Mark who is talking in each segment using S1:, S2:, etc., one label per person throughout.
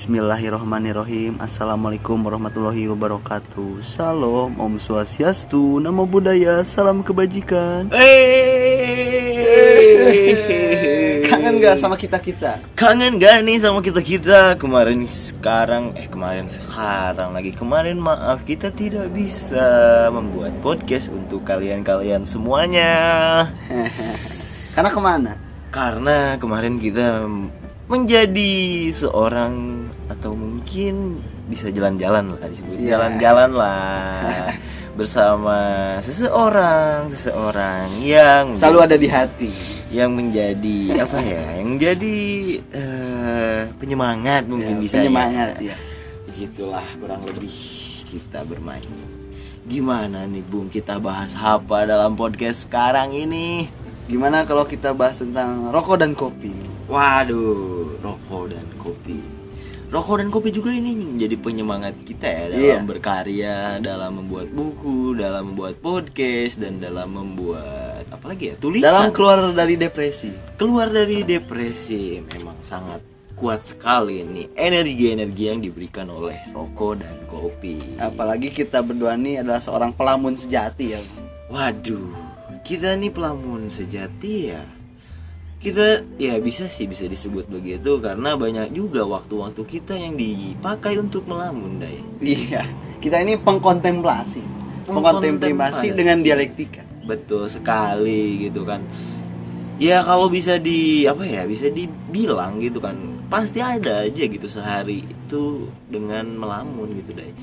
S1: Bismillahirrohmanirrohim Assalamualaikum warahmatullahi wabarakatuh Salam, Om Swastiastu Nama budaya, salam kebajikan
S2: Hey.
S3: Kangen gak sama kita-kita?
S2: Kangen gak nih sama kita kita kemarin sekarang eh kemarin sekarang lagi kemarin maaf kita tidak bisa membuat podcast untuk kalian kalian semuanya
S3: Karena kemana?
S2: karena kemarin kita menjadi seorang atau mungkin bisa jalan-jalan lah disebut
S3: Iya.
S2: jalan-jalan lah bersama seseorang seseorang yang
S3: Selalu ada di hati
S2: yang menjadi apa ya yang menjadi eh, penyemangat mungkin
S3: Ya,
S2: bisa
S3: penyemangat, ya.
S2: gitulah kurang lebih kita bermain gimana nih bung kita bahas apa dalam podcast sekarang ini
S3: Gimana kalau kita bahas tentang rokok dan kopi?
S2: waduh rokok dan kopi rokok dan kopi juga ini menjadi penyemangat kita ya dalam
S3: Iya.
S2: berkarya dalam membuat buku dalam membuat podcast dan dalam membuat apalagi ya tulisan
S3: Dalam keluar dari depresi
S2: keluar dari depresi memang sangat kuat sekali nih energi-energi yang diberikan oleh rokok dan kopi.
S3: Apalagi kita berdua nih adalah seorang pelamun sejati ya Bang.
S2: Waduh, kita nih pelamun sejati ya. Kita ya bisa sih bisa disebut begitu karena banyak juga waktu-waktu kita yang dipakai untuk melamun, Day.
S3: Iya Kita ini pengkontemplasi
S2: Pengkontemplasi.
S3: Pengkontemplasi dengan dialektika
S2: betul sekali gitu kan ya kalau bisa di apa ya bisa dibilang gitu kan pasti ada aja gitu sehari itu dengan melamun gitu deh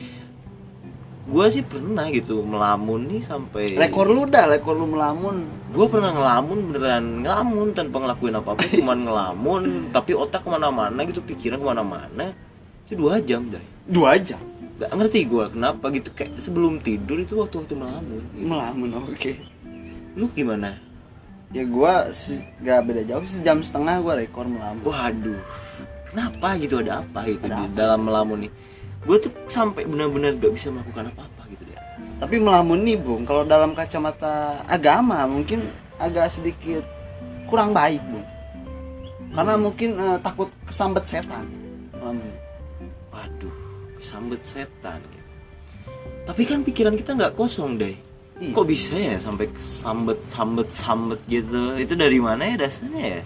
S2: gue sih pernah gitu melamun nih sampai
S3: Rekor lu dah, rekor lu melamun
S2: gue pernah ngelamun beneran ngelamun tanpa ngelakuin apa apa cuman ngelamun tapi otak kemana-mana gitu pikiran kemana-mana itu dua jam deh
S3: Dua jam
S2: gak ngerti gue kenapa gitu kayak sebelum tidur itu waktu-waktu melamun gitu.
S3: Melamun, oke
S2: lu gimana
S3: Ya gua se- gak beda jauh sih, sejam setengah gua rekor melamun
S2: waduh kenapa gitu ada apa gitu
S3: Ada
S2: di dalam melamun nih gue tuh sampai benar-benar gak bisa melakukan apa-apa gitu deh
S3: Tapi melamun nih Bung, kalau dalam kacamata agama mungkin agak sedikit kurang baik Bung. Karena mungkin eh, takut kesambet setan. Melamun.
S2: waduh kesambet setan ya. tapi kan pikiran kita nggak kosong deh
S3: Iya.
S2: kok bisa ya sampai kesambet sambet sambet gitu itu dari mana ya dasarnya ya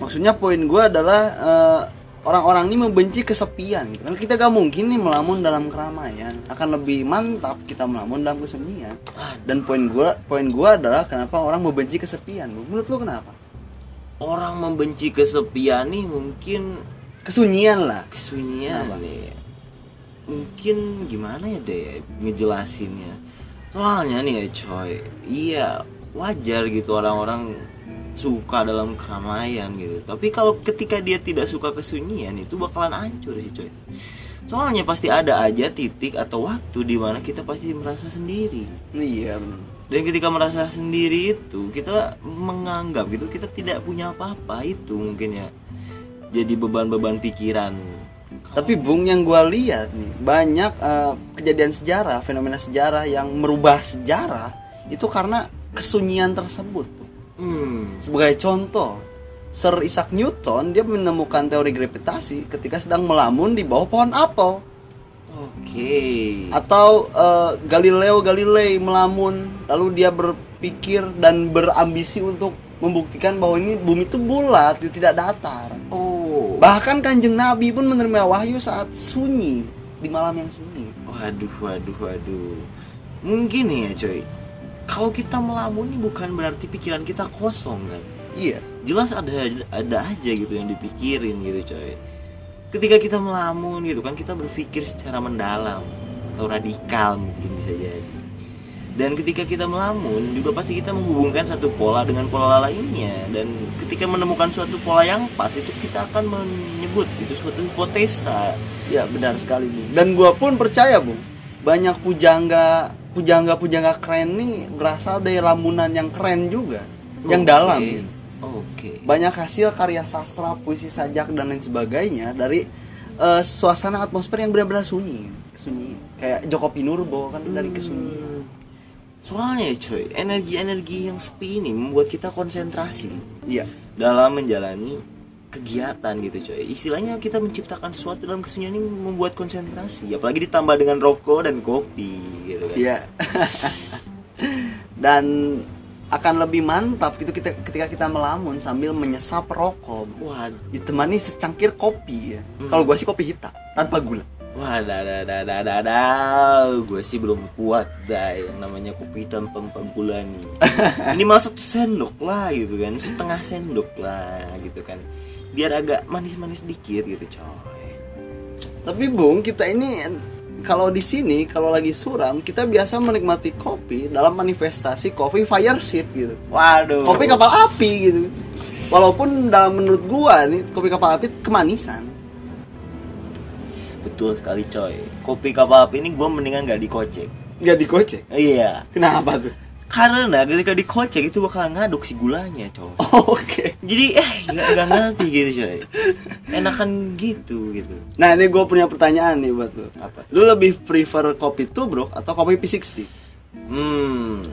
S3: Maksudnya poin gua adalah eh, orang-orang ini membenci kesepian. Gitu. Karena kita gak mungkin nih melamun dalam keramaian. Akan lebih mantap kita melamun dalam kesunyian. Dan poin gua poin gua adalah kenapa orang membenci kesepian. Bung. Menurut lu kenapa?
S2: orang membenci kesepian nih mungkin
S3: Kesunyian lah.
S2: kesunyian
S3: Kenapa?
S2: ya. mungkin gimana ya deh ngejelasinnya soalnya nih ya coy iya wajar gitu orang-orang suka dalam keramaian gitu tapi kalau ketika dia tidak suka kesunyian itu bakalan hancur sih coy soalnya pasti ada aja titik atau waktu di mana kita pasti merasa sendiri
S3: Iya. bener.
S2: dan ketika merasa sendiri itu kita menganggap gitu kita tidak punya apa-apa itu mungkin ya jadi beban-beban pikiran
S3: Tapi Bung yang gua lihat nih banyak eh, kejadian sejarah, fenomena sejarah yang merubah sejarah itu karena kesunyian tersebut. Bung.
S2: hmm
S3: Sebagai contoh, Sir Isaac Newton dia menemukan teori gravitasi ketika sedang melamun di bawah pohon apel
S2: oke
S3: atau eh, Galileo Galilei melamun lalu dia berpikir dan berambisi untuk membuktikan bahwa ini bumi itu bulat, itu tidak datar.
S2: oh
S3: Bahkan Kanjeng Nabi pun menerima wahyu saat sunyi di malam yang sunyi.
S2: waduh waduh waduh mungkin nih ya coy kalau kita melamun ini bukan berarti pikiran kita kosong kan
S3: Iya.
S2: jelas ada ada aja gitu yang dipikirin gitu coy ketika kita melamun gitu kan kita berpikir secara mendalam atau radikal mungkin bisa jadi dan ketika kita melamun juga pasti kita menghubungkan satu pola dengan pola lainnya dan ketika menemukan suatu pola yang pas itu kita akan menyebut itu suatu hipotesa
S3: Iya benar sekali bu. Dan gua pun percaya bu. Banyak pujangga pujangga pujangga keren nih berasal dari lamunan yang keren juga, yang
S2: Oke.
S3: dalam. gitu.
S2: oke
S3: Banyak hasil karya sastra, puisi sajak dan lain sebagainya dari eh, suasana atmosfer yang benar-benar sunyi, sunyi. Kayak Joko Pinurbo kan dari kesunyian.
S2: soalnya coy energi-energi yang sepi ini membuat kita konsentrasi
S3: Iya.
S2: dalam menjalani kegiatan gitu coy istilahnya kita menciptakan sesuatu dalam kesunyian ini membuat konsentrasi apalagi ditambah dengan rokok dan kopi gitu kan
S3: Iya. Dan akan lebih mantap gitu kita ketika kita melamun sambil menyesap rokok
S2: waduh
S3: ditemani secangkir kopi ya. Kalau gua sih kopi hitam tanpa gula.
S2: Wah, dah, dah, dah, dah, dah, Gue sih belum kuat dah yang namanya kopi hitam pempem gula nih. Minimal satu sendok lah gitu kan, setengah sendok lah gitu kan. Biar agak manis-manis dikit gitu coy.
S3: Tapi Bung, kita ini kalau di sini kalau lagi suram kita biasa menikmati kopi dalam manifestasi kopi fire ship gitu.
S2: Waduh.
S3: Kopi kapal api gitu. Walaupun dalam menurut gua nih kopi kapal api kemanisan.
S2: Betul sekali coy. Kopi kapal api ini gue mendingan gak dikocek.
S3: Gak dikocek.
S2: Iya.
S3: Kenapa tuh?
S2: Karena ketika dikocek itu bakal ngaduk si gulanya coy.
S3: Oke.
S2: Jadi eh nggak nggak ngerti gitu coy. Enakan gitu gitu.
S3: Nah ini gue punya pertanyaan nih buat lu
S2: Apa?
S3: Lu lebih prefer kopi tubruk atau kopi P60?
S2: Hmm,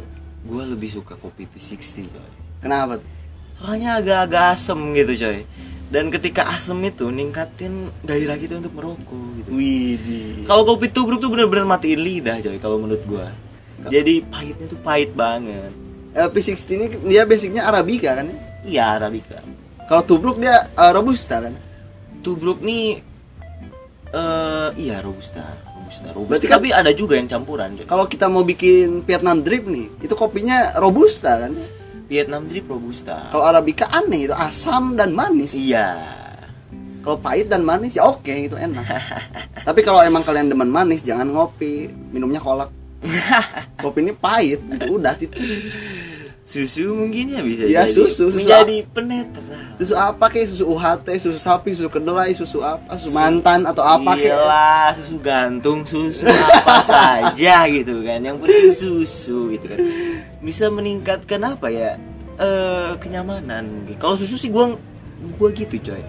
S2: gue lebih suka kopi P60 coy.
S3: Kenapa tuh?
S2: Soalnya agak-agak asem gitu coy. Dan ketika asem itu ningkatin gairah kita untuk merokok gitu.
S3: Widih
S2: Kalau kopi tubruk tuh bener-bener matiin lidah coy kalau menurut gua. Jadi pahitnya tuh pahit banget.
S3: P60 Eh, ini dia basicnya Arabica kan ya?
S2: Iya Arabica.
S3: Kalau tubruk dia eh, Robusta kan?
S2: Tubruk nih eh iya robusta, robusta, robusta.
S3: Berarti kan-
S2: tapi ada juga yang campuran coy.
S3: Kalau kita mau bikin Vietnam drip nih Itu kopinya Robusta kan?
S2: Vietnam drip robusta.
S3: Kalau Arabica aneh itu asam dan manis
S2: Iya.
S3: Kalau pahit dan manis ya oke itu enak Tapi kalau emang kalian demen manis jangan ngopi Minumnya kolak Kopi ini pahit gitu, udah titik
S2: Susu mungkin ya bisa
S3: Iya,
S2: jadi
S3: susu, susu.
S2: menjadi penetra.
S3: susu apa kek susu UHT susu sapi susu kedelai susu apa susu mantan atau apa kek
S2: Iyalah, susu gantung, susu apa saja gitu kan. Yang penting susu gitu kan. Bisa meningkatkan apa ya? Eh kenyamanan. gitu. Kalau susu sih gua gua gitu, coy.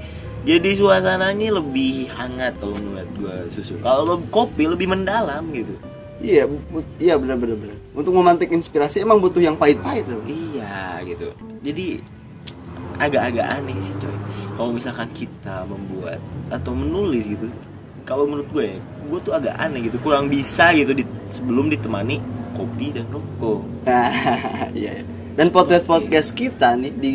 S2: Jadi suasananya lebih hangat kalau menurut gua susu. Kalau kopi lebih mendalam gitu.
S3: iya bu- iya benar benar benar untuk memantik inspirasi emang butuh yang pahit pahit loh
S2: Iya gitu. Jadi agak-agak aneh sih coy. Kalau misalkan kita membuat atau menulis gitu, kalau menurut gue, ya, gue tuh agak aneh gitu, kurang bisa gitu di- sebelum ditemani kopi dan rokok.
S3: nah iya iya. dan podcast podcast kita nih di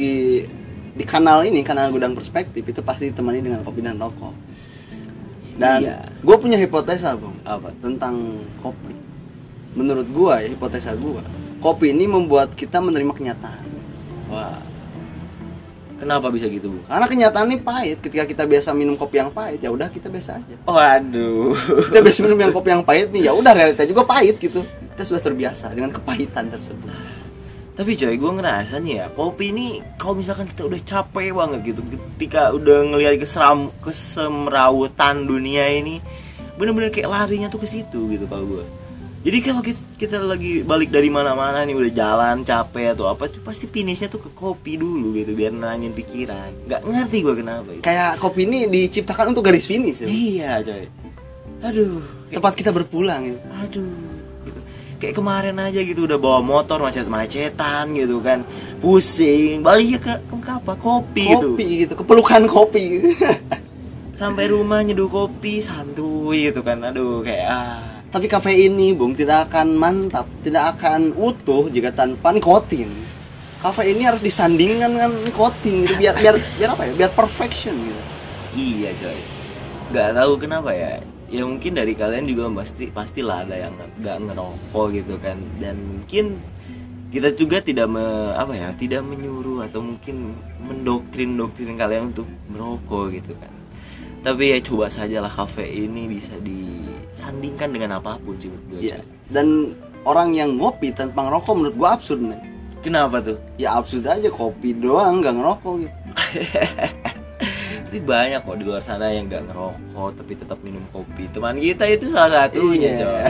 S3: di kanal ini kanal gudang perspektif itu pasti ditemani dengan kopi dan rokok dan
S2: Iya.
S3: gue punya hipotesa bang
S2: Apa?
S3: tentang kopi menurut gue ya hipotesa gue kopi ini membuat kita menerima kenyataan
S2: Wah. Kenapa bisa gitu, Bu?
S3: karena kenyataan ini pahit ketika kita biasa minum kopi yang pahit ya udah kita biasa aja
S2: Waduh.
S3: kita biasa minum yang kopi yang pahit nih ya udah realita juga pahit gitu kita sudah terbiasa dengan kepahitan tersebut
S2: Tapi coy, gue ngerasa nih ya, kopi ini kalau misalkan kita udah capek banget gitu, ketika udah ngelihat keseram kesemrawutan dunia ini, bener-bener kayak larinya tuh ke situ gitu kalau gue. Jadi kalau kita, kita lagi balik dari mana-mana nih udah jalan capek atau apa tuh pasti finishnya tuh ke kopi dulu gitu biar nangin pikiran. Gak ngerti gue kenapa. Gitu.
S3: kayak kopi ini diciptakan untuk garis finish ya.
S2: Iya coy. Aduh. kayak-
S3: tempat kita berpulang ya.
S2: aduh gitu. kayak kemarin aja gitu udah bawa motor macet-macetan gitu kan pusing baliknya ke, ke apa
S3: kopi
S2: kopi, gitu
S3: gitu kepelukan kopi gitu.
S2: sampai rumah nyeduh kopi santuy gitu kan aduh kayak ah
S3: tapi kafe ini bung tidak akan mantap tidak akan utuh jika tanpa nikotin kafe ini harus disandingkan dengan nikotin gitu biar biar biar apa ya biar perfection gitu
S2: iya coy nggak tahu kenapa ya ya mungkin dari kalian juga pasti pastilah ada yang nggak ngerokok gitu kan dan mungkin kita juga tidak me- apa ya tidak menyuruh atau mungkin mendoktrin doktrin kalian untuk merokok gitu kan tapi ya coba sajalah kafe ini bisa disandingkan dengan apapun sih menurut gue,
S3: Iya.
S2: coy.
S3: dan orang yang ngopi tanpa ngerokok menurut gua absurd nih
S2: kenapa tuh
S3: ya absurd aja kopi doang nggak ngerokok gitu
S2: tapi banyak kok di luar sana yang nggak ngerokok tapi tetap minum kopi teman kita itu salah satunya
S3: Iya.
S2: coy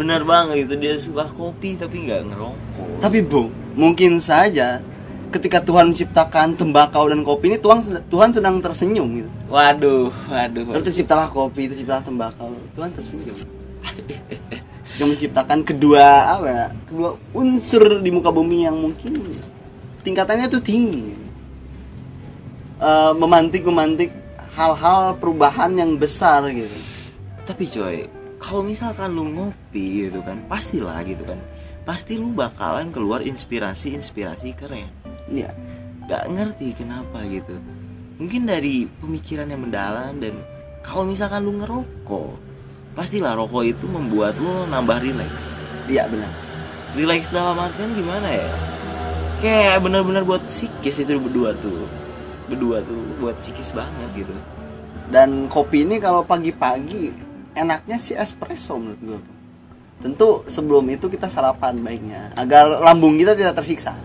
S2: bener banget itu dia suka kopi tapi nggak ngerokok
S3: Tapi Bung, mungkin saja ketika Tuhan menciptakan tembakau dan kopi ini Tuhan Tuhan sedang tersenyum gitu.
S2: waduh waduh
S3: Lalu terciptalah kopi, terciptalah tembakau. kan Tuhan tersenyum. Yang menciptakan kedua apa ya? Kedua unsur di muka bumi yang mungkin tingkatannya tuh tinggi. Eh eh, memantik memantik hal-hal perubahan yang besar gitu
S2: tapi coy kalau misalkan lu ngopi gitu kan pastilah gitu kan pasti lu bakalan keluar inspirasi inspirasi keren
S3: ya
S2: gak ngerti kenapa gitu mungkin dari pemikiran yang mendalam dan kalau misalkan lu ngerokok pastilah rokok itu membuat lu nambah relax
S3: iya benar
S2: relax dalam artian gimana ya kayak benar-benar buat psikis itu berdua tuh berdua tuh buat psikis banget gitu
S3: dan kopi ini kalau pagi-pagi enaknya sih espresso menurut gue tentu sebelum itu kita sarapan baiknya agar lambung kita tidak tersiksa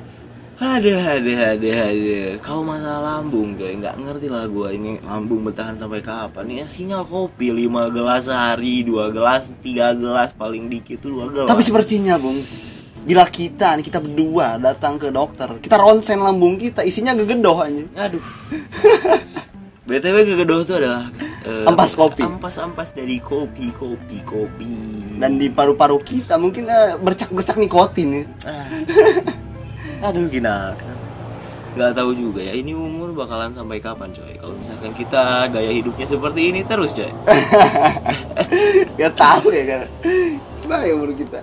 S2: ada ada ada ada kalau masalah lambung kayak nggak ngerti lah gua ini lambung bertahan sampai kapan ini sinyal kopi 5 gelas sehari 2 gelas 3 gelas paling dikit tuh 2 gelas
S3: tapi sepertinya bung bila kita nih kita berdua datang ke dokter kita ronsen lambung kita isinya gegedoh aja
S2: aduh btw kegedoh itu adalah eh,
S3: Ampas kopi.
S2: ampas ampas dari kopi kopi kopi
S3: dan di paru-paru kita mungkin eh, bercak-bercak nikotin ya.
S2: Ah. Aduh gina nggak tahu juga ya ini umur bakalan sampai kapan coy kalau misalkan kita gaya hidupnya seperti ini terus coy
S3: Gak tahu ya kan. Gimana ya umur kita?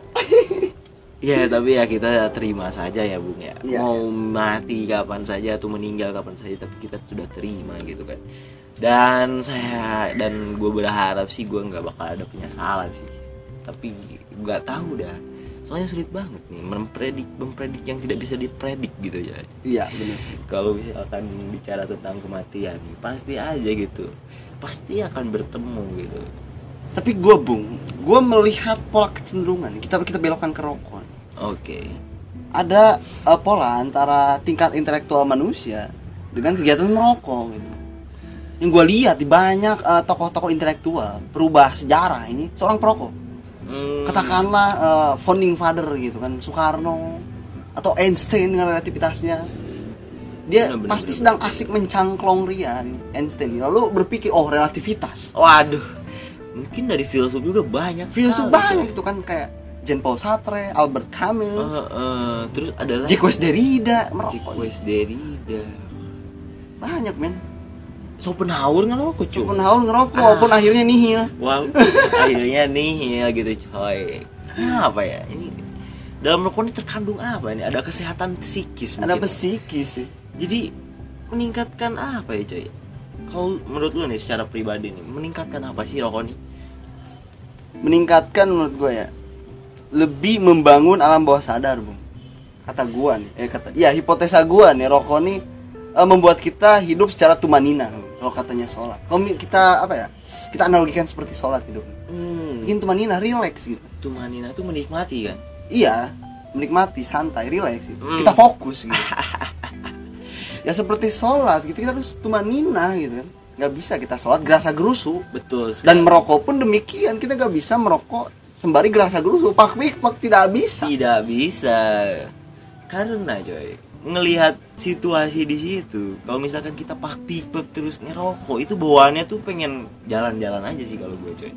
S2: ya tapi ya kita terima saja ya bung ya
S3: Iya,
S2: mau mati kapan saja atau meninggal kapan saja tapi kita sudah terima gitu kan dan saya dan gue berharap sih gue nggak bakal ada penyesalan sih tapi nggak tahu dah soalnya sulit banget nih mempredik mempredik yang tidak bisa dipredik gitu ya
S3: Iya benar.
S2: kalau misalkan bicara tentang kematian pasti aja gitu pasti akan bertemu gitu
S3: Tapi gue bung, gue melihat pola kecenderungan. Kita kita belokkan ke rokok.
S2: oke
S3: Ada eh, pola antara tingkat intelektual manusia dengan kegiatan merokok gitu. Yang gue lihat di banyak eh, tokoh-tokoh intelektual perubah sejarah ini seorang perokok.
S2: Hmm,
S3: Katakanlah eh, founding father gitu kan Soekarno atau Einstein dengan relativitasnya. Dia
S2: Benar, benar,
S3: pasti
S2: benar.
S3: sedang asik mencangklong ria Einstein. Lalu berpikir oh relativitas.
S2: waduh mungkin dari filsuf juga banyak
S3: filsuf
S2: sekali,
S3: banyak
S2: coy.
S3: itu kan kayak Jean Paul Sartre, Albert
S2: Eh,
S3: Camus,
S2: eh, terus ada lagi
S3: Jacques Derrida,
S2: Jack
S3: merokok
S2: West Derrida
S3: banyak men.
S2: Schopenhauer ngerokok cuy
S3: Walaupun haul ngerokok,
S2: Ah.
S3: walaupun akhirnya nihil.
S2: Wah, akhirnya nih ya gitu coy apa ya ini dalam rokok ini terkandung apa ini ada kesehatan psikis
S3: Ada
S2: mungkin.
S3: psikis sih.
S2: jadi meningkatkan apa ya coy kalau menurut lu nih secara pribadi nih meningkatkan apa sih rokok nih
S3: Meningkatkan menurut gue ya. Lebih membangun alam bawah sadar, Bung. Kata gua nih, eh kata ya hipotesa gua nih rokok nih eh, membuat kita hidup secara tumanina Bung. kalau katanya sholat. Kalau mi- kita apa ya? Kita analogikan seperti sholat hidup.
S2: hmm,
S3: Mungkin tumanina, relax gitu.
S2: itu manina tuh menikmati kan
S3: iya menikmati santai relax gitu.
S2: Hmm.
S3: kita fokus gitu ya seperti sholat gitu kita harus tumanina gitu kan nggak bisa kita sholat gerasa gerusu
S2: betul
S3: Iya.
S2: sekali.
S3: dan merokok pun demikian kita nggak bisa merokok sembari gerasa gerusu pak pik pak tidak bisa
S2: tidak bisa karena coy ngelihat situasi di situ kalau misalkan kita pak pipet terus ngerokok itu bawaannya tuh pengen jalan-jalan aja sih kalau gue coy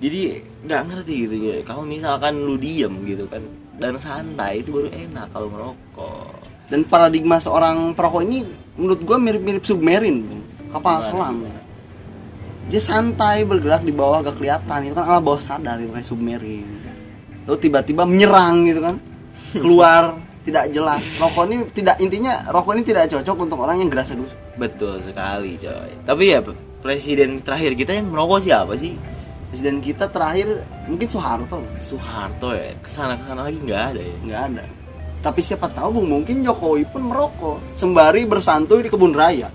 S2: jadi nggak ngerti gitu ya kalau misalkan lu diem gitu kan dan santai itu baru enak kalau ngerokok
S3: dan paradigma seorang perokok ini menurut gua mirip-mirip submerin Bung. kapal selam dia santai bergerak di bawah gak kelihatan itu kan ala bawah sadar itu kayak submerin lalu tiba-tiba menyerang gitu kan keluar tidak jelas rokok ini tidak intinya rokok ini tidak cocok untuk orang yang gerasa dus
S2: betul sekali coy tapi ya presiden terakhir kita yang merokok siapa sih
S3: presiden kita terakhir mungkin Soeharto
S2: Soeharto ya kesana kesana lagi nggak ada ya
S3: nggak ada tapi siapa tahu Bung, mungkin Jokowi pun merokok sembari bersantuy di kebun raya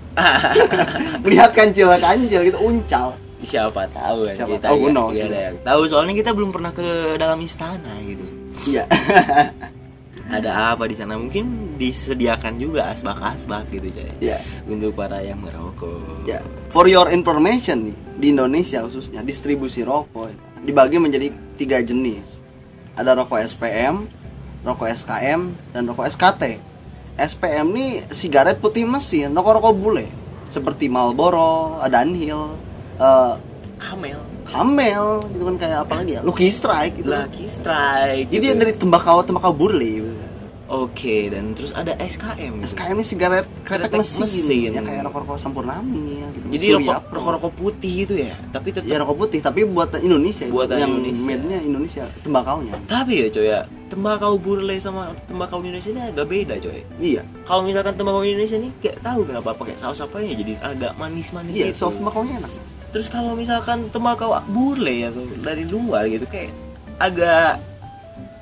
S3: melihat kancil kancil gitu uncal
S2: siapa tahu kan
S3: Siapa
S2: kita
S3: tahu,
S2: ya,
S3: no,
S2: nggak ada
S3: sih.
S2: yang tahu soalnya kita belum pernah ke dalam istana gitu
S3: iya
S2: ada apa di sana mungkin disediakan juga asbak-asbak gitu coy
S3: Iya.
S2: untuk para yang merokok
S3: Ya, for your information nih, di Indonesia khususnya distribusi rokok dibagi menjadi tiga jenis. Ada rokok SPM, rokok SKM, dan rokok SKT. SPM nih sigaret putih mesin, rokok-rokok bule seperti Marlboro, ada Dunhill, eh,
S2: kamel
S3: Camel gitu
S2: Nah.
S3: kan kayak apa lagi ya, Lucky Strike gitu.
S2: lucky strike
S3: Jadi
S2: gitu.
S3: dari tembakau tembakau bule. gitu.
S2: Oke, dan terus ada SKM. gitu.
S3: SKM ini sigaret kretek
S2: Kretek
S3: mesin,
S2: mesin.
S3: ya kayak rokok-rokok sampurnami ya, gitu.
S2: Jadi
S3: Surya
S2: rokok,
S3: Pro.
S2: rokok rokok putih gitu ya, tapi tetap
S3: ya rokok putih tapi buatan Indonesia itu,
S2: Buatan
S3: yang
S2: Indonesia.
S3: made-nya Indonesia tembakaunya
S2: tapi ya coy ya tembakau burle sama tembakau Indonesia ini agak beda coy.
S3: iya
S2: Kalau misalkan tembakau Indonesia ini kayak tahu kenapa pakai saus apa ya jadi agak manis-manis
S3: iya
S2: gitu.
S3: soft tembakaunya enak
S2: Terus kalau misalkan tembakau burle atau dari luar gitu kayak agak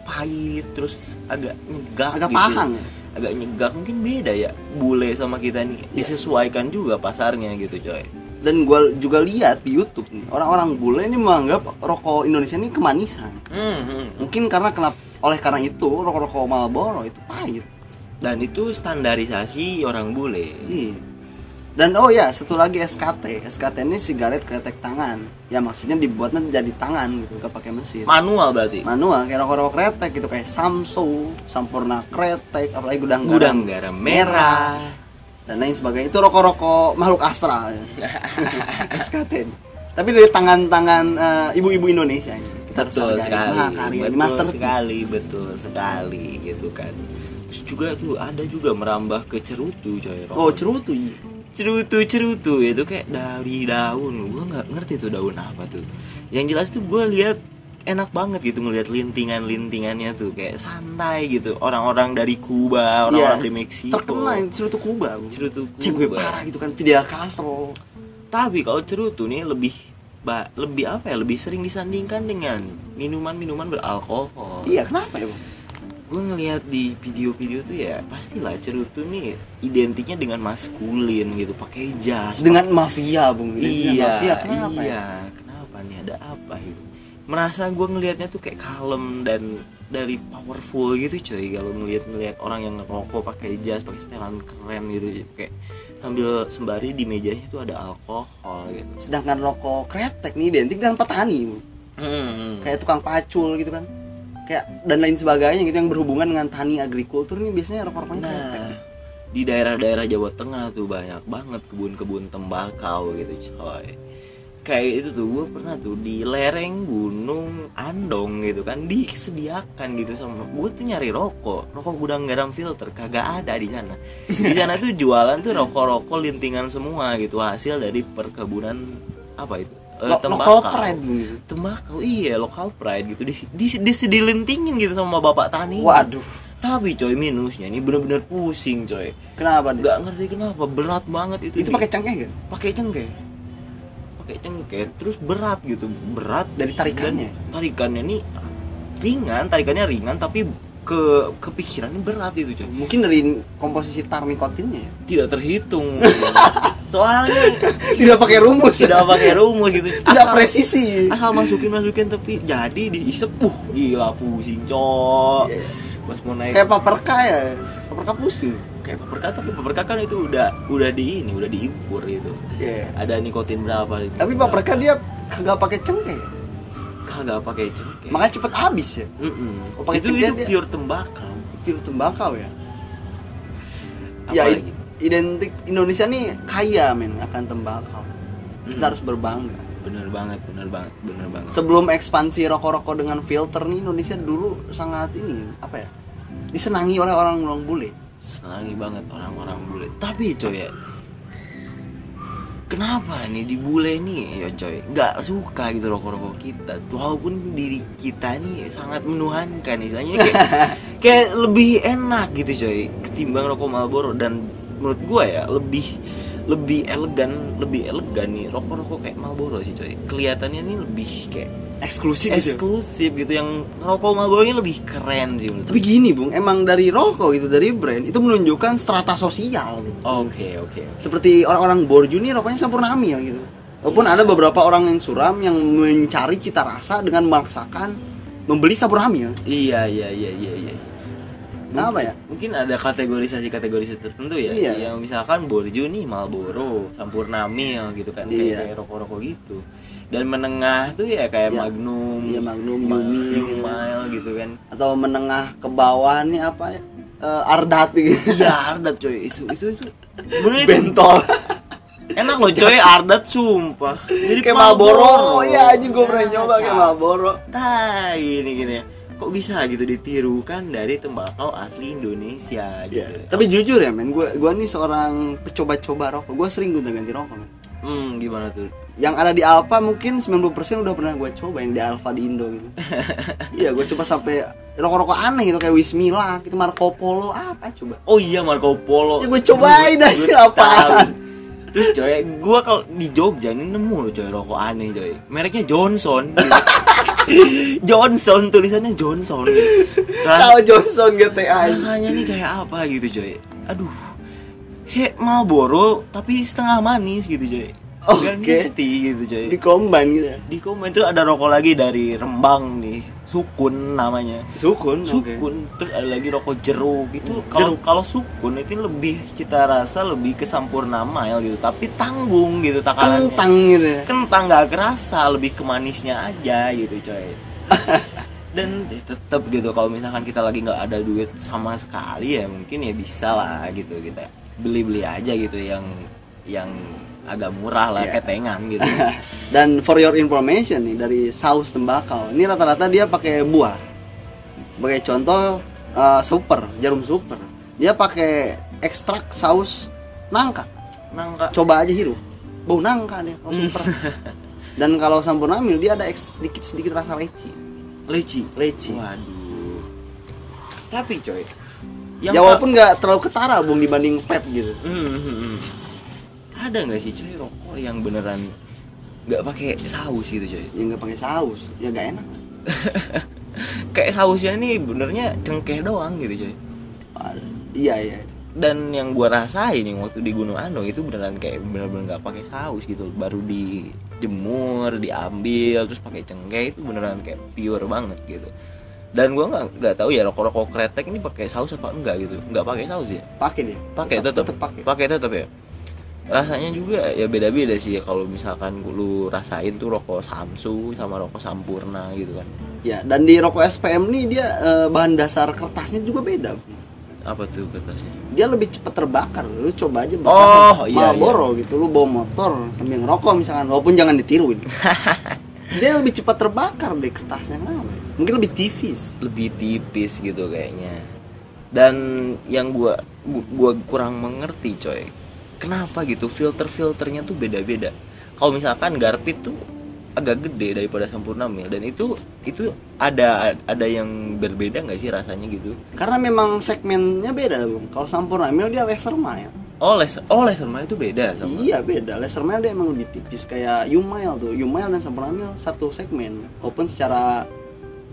S2: pahit terus agak nyegak
S3: Agak
S2: gitu.
S3: pahang.
S2: agak nyegak mungkin beda ya bule sama kita
S3: Iya.
S2: nih disesuaikan juga pasarnya gitu coy
S3: dan gua juga lihat di YouTube nih orang-orang bule ini menganggap rokok Indonesia ini kemanisan
S2: Hmm, hmm.
S3: mungkin karena kenapa oleh karena itu rokok-rokok Marlboro itu pahit
S2: dan itu standarisasi orang bule
S3: Iya. Dan oh ya, satu lagi SKT. SKT ini sigaret kretek tangan. Ya maksudnya dibuatnya jadi tangan gitu, gak pakai mesin.
S2: manual berarti
S3: Manual kayak rokok-rokok kretek gitu kayak Samso, Sampurna kretek, apalagi gudang garam,
S2: gudang garam merah
S3: dan lain sebagainya. Itu rokok-rokok makhluk astral. ya. SKT. ini. Tapi dari tangan-tangan eh, ibu-ibu Indonesia ini. Kita harus
S2: betul
S3: hargai.
S2: sekali
S3: Wah, karya ini
S2: betul
S3: masterpiece.
S2: sekali betul sekali gitu kan terus juga tuh ada juga merambah ke cerutu coy
S3: Oh,
S2: Roman.
S3: cerutu. iya.
S2: cerutu cerutu itu kayak dari daun gue nggak ngerti tuh daun apa tuh yang jelas tuh gue lihat enak banget gitu ngelihat lintingan lintingannya tuh kayak santai gitu orang-orang dari Kuba orang-orang
S3: Iya.
S2: dari Meksiko
S3: Terkenal ini cerutu Kuba. Bu.
S2: cerutu Kuba
S3: Cek gue parah gitu kan Fidel Castro.
S2: tapi kalau cerutu nih lebih ba- lebih apa ya lebih sering disandingkan dengan minuman-minuman beralkohol
S3: Iya, kenapa ya, Bang?
S2: gue ngelihat di video-video tuh ya pastilah cerutu nih identiknya dengan maskulin gitu pakai jas
S3: dengan mafia bung Dengan
S2: iya
S3: mafia kenapa
S2: iya
S3: ya
S2: kenapa nih ada apa ini merasa gue ngelihatnya tuh kayak kalem dan dari powerful gitu coy kalau ngelihat ngelihat orang yang ngerokok pakai jas pakai setelan keren gitu kayak sambil sembari di mejanya tuh ada alkohol gitu
S3: sedangkan rokok kretek nih identik dengan petani Bu. Hmm, kayak tukang pacul gitu kan kayak dan lain sebagainya gitu yang berhubungan dengan tani agrikultur nih biasanya rokok-rokoknya kretek
S2: Nah, di daerah-daerah Jawa Tengah tuh banyak banget kebun-kebun tembakau gitu coy kayak itu tuh gue pernah tuh di lereng gunung Andong gitu kan disediakan gitu sama gue tuh nyari rokok rokok gudang garam filter kagak ada di sana di sana tuh jualan tuh rokok-rokok lintingan semua gitu hasil dari perkebunan apa itu Eh,
S3: Lo- local pride gitu.
S2: tembakau iya lokal pride gitu di, di, di- dilintingin gitu sama bapak tani
S3: waduh
S2: tapi coy minusnya ini bener-bener pusing coy
S3: kenapa deh
S2: nggak ngerti kenapa berat banget itu
S3: itu
S2: di-
S3: pakai cengkeh kan
S2: pakai cengkeh pakai cengkeh terus berat gitu berat
S3: Dari tarikannya?
S2: dan tarikannya nih ringan tarikannya ringan tapi ke kepikirannya berat itu coy
S3: mungkin dari komposisi tarmikotinnya ya
S2: tidak terhitung soalnya
S3: tidak pakai rumus
S2: tidak pakai rumus gitu
S3: tidak
S2: Asal-
S3: presisi
S2: asal masukin masukin tapi jadi diisep uh gila pusing coy
S3: Iya.
S2: pas mau naik
S3: kayak paperka ya paperka pusing
S2: kayak paperka tapi paperka kan itu udah udah di ini udah diukur gitu
S3: Iya.
S2: ada nikotin berapa gitu.
S3: tapi paperka dia kagak pakai cengkeh ya?
S2: kagak pakai cengkeh
S3: makanya cepet habis ya Oh,
S2: Mm-mm.
S3: pakai
S2: itu
S3: cengkeh
S2: itu
S3: dia-
S2: pure tembakau
S3: pil tembakau ya
S2: Apa
S3: ya
S2: lagi?
S3: i- identik Indonesia nih kaya men akan tembakau kita harus berbangga
S2: bener banget bener banget bener banget
S3: sebelum ekspansi rokok-rokok dengan filter nih Indonesia dulu sangat ini apa ya disenangi oleh orang orang bule
S2: senangi banget orang-orang bule tapi coy ya kenapa nih di bule nih ya coy nggak suka gitu rokok-rokok kita walaupun diri kita nih sangat menuhankan istilahnya kayak, kayak lebih enak gitu coy ketimbang rokok Marlboro dan menurut gua ya lebih lebih elegan lebih elegan nih rokok-rokok kayak Marlboro sih coy kelihatannya nih lebih kayak
S3: eksklusif gitu
S2: eksklusif gitu yang rokok Marlboro ini lebih keren sih menurut
S3: tapi gini bung emang dari rokok gitu dari brand itu menunjukkan strata sosial Bung.
S2: Oke oke
S3: seperti orang-orang borju nih rokoknya sempurna hamil gitu walaupun ada beberapa orang yang suram yang mencari cita rasa dengan memaksakan membeli sabur hamil
S2: Iya iya iya iya iya.
S3: Kenapa ya?
S2: Mungkin ada kategorisasi-kategorisasi tertentu ya.
S3: Iya.
S2: Yang misalkan Borju nih Marlboro, Sampurna Mil gitu kan kayak,
S3: Iya.
S2: kayak rokok-rokok gitu. Dan menengah tuh ya kayak
S3: Iya.
S2: Magnum,
S3: Iya, Magnum,
S2: Ma-
S3: Yumi, gitu.
S2: Yumil gitu kan.
S3: atau menengah ke bawah nih apa ya Eh, Ardat gitu.
S2: Iya Ardat coy itu itu itu. Bener itu.
S3: bentol
S2: Enak loh coy Ardat sumpah. Jadi
S3: Iya, kayak Marlboro iya anjing gue pernah nyoba kayak Marlboro
S2: Tai ini Nah, gini. kok bisa gitu ditirukan dari tembakau asli Indonesia gitu.
S3: Tapi jujur ya men, gua gua nih seorang pecoba-coba rokok. Gua sering gonta ganti rokok. Men.
S2: Hmm, gimana tuh?
S3: Yang ada di Alfa mungkin 90% udah pernah gua coba yang di Alfa di Indo gitu. iya, gua coba sampai rokok-rokok aneh gitu kayak Wismila, gitu Marco Polo apa coba.
S2: Oh iya Marco Polo.
S3: Ya, gue cobain
S2: Gua
S3: aja,
S2: tahu.
S3: apaan.
S2: Terus coy, gua kalau di Jogja ini nemu loh coy rokok aneh coy. Mereknya Johnson. gitu. Johnson tulisannya Johnson. Ras-
S3: Kalau Johnson GTA aja.
S2: rasanya nih kayak apa gitu coy. Aduh. Kayak Marlboro tapi setengah manis gitu coy. Nggak
S3: Oke.
S2: ngerti gitu coy.
S3: di combine gitu. ya.
S2: Di komen tuh ada rokok lagi dari Rembang nih, Sukun namanya.
S3: Sukun, oke.
S2: Sukun terus ada lagi rokok jeruk itu kalau
S3: jeruk.
S2: kalau sukun itu lebih cita rasa lebih ke sampurna mile gitu, tapi tanggung gitu takarannya.
S3: Kentang gitu ya.
S2: Kentang nggak kerasa, lebih ke manisnya aja gitu coy. Dan tetap gitu kalau misalkan kita lagi nggak ada duit sama sekali ya mungkin ya bisa lah gitu kita beli-beli aja gitu yang yang agak murah lah
S3: Iya.
S2: ketengan gitu.
S3: Dan for your information nih dari saus tembakau. Ini rata-rata dia pakai buah. Sebagai contoh eh, super, jarum super. Dia pakai ekstrak saus nangka.
S2: Nangka
S3: Coba aja hirup. Bau nangka deh kalau super. Dan kalau sampurna mil dia ada eks- sedikit-sedikit rasa leci.
S2: leci.
S3: Leci.
S2: Waduh. Tapi coy,
S3: ya walaupun nggak terlalu ketara bung dibanding pep gitu.
S2: Hmm, hmm, hmm. ada nggak sih coy rokok yang beneran nggak pakai saus gitu coy?
S3: Ya nggak pakai saus, ya nggak enak.
S2: Kayak sausnya nih benernya cengkeh doang gitu coy.
S3: Waduh. Iya iya.
S2: Dan yang gua rasain yang waktu di Gunung Anu itu beneran kayak bener-bener nggak pakai saus gitu, baru dijemur, diambil, terus pakai cengkeh itu beneran kayak pure banget gitu. Dan gua nggak nggak tahu ya rokok-rokok kretek ini pakai saus apa enggak gitu, nggak pakai saus ya?
S3: Pakai deh.
S2: pakai tetap
S3: tetap pakai.
S2: pakai tetap ya rasanya juga ya beda-beda sih ya kalau misalkan lu rasain tuh rokok Samsu sama rokok Sampurna gitu kan
S3: Ya, dan di rokok SPM nih dia eh, bahan dasar kertasnya juga beda.
S2: apa tuh kertasnya
S3: Dia lebih cepat terbakar. Lu coba aja
S2: Oh, iya,
S3: Marlboro gitu. Lu bawa motor sambil ngerokok misalkan, walaupun jangan ditiruin. dia lebih cepat terbakar deh kertasnya kenapa? ya? Mungkin lebih tipis.
S2: lebih tipis gitu kayaknya dan yang gua gu- gua kurang mengerti coy kenapa gitu filter filternya tuh beda-beda kalau misalkan garpit tuh agak gede daripada Sampurna Mil dan itu itu ada ada yang berbeda nggak sih rasanya gitu
S3: Karena memang segmennya beda, Bung. Kalau Sampurna Mil dia laser mile.
S2: oh laser oh laser mile itu beda sama
S3: Iya, beda. Laser mile dia emang lebih tipis kayak U-mile tuh. U-mile dan Sampurna Mil satu segmen. Walaupun secara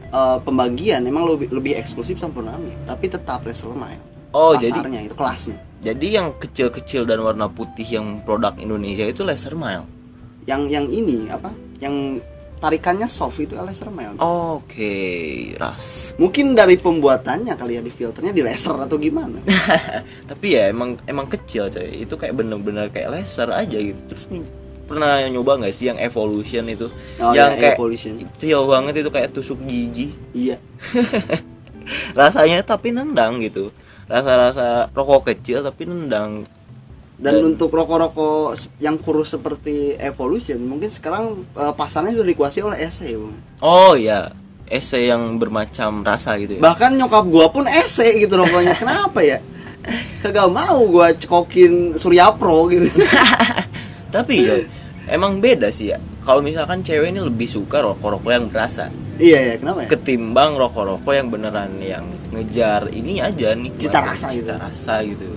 S3: eh, pembagian emang lebih lebih eksklusif Sampurna Mil, tapi tetap laser mile.
S2: Oh, jadi
S3: pasarnya itu kelasnya
S2: jadi yang kecil-kecil dan warna putih yang produk Indonesia itu laser mile.
S3: yang yang ini apa yang tarikannya soft itu laser mile
S2: Oke, ras.
S3: mungkin dari pembuatannya kali ya di filternya di laser atau gimana
S2: Tapi ya emang emang kecil coy. Itu kayak bener-bener kayak laser aja gitu. Terus nih, pernah nyoba nggak sih yang evolution itu?
S3: Oh,
S2: yang
S3: iya,
S2: kayak
S3: Evolution.
S2: kecil banget itu kayak tusuk gigi.
S3: iya
S2: Rasanya tapi nendang gitu. Rasa-rasa rokok kecil tapi nendang.
S3: dan untuk rokok-rokok se- yang kurus seperti evolution mungkin sekarang eh, pasarnya sudah dikuasai oleh ese Bung.
S2: Oh ya, ese yang bermacam rasa gitu ya.
S3: bahkan nyokap gua pun ese gitu rokoknya kenapa ya kagak mau gua cekokin surya pro gitu
S2: Tapi ya emang beda sih ya. Kalau misalkan cewek ini lebih suka rokok-rokok yang berasa
S3: iya ya kenapa ya
S2: ketimbang rokok-rokok yang beneran yang ngejar ini aja nih
S3: Cita rasa gitu.
S2: cita rasa gitu.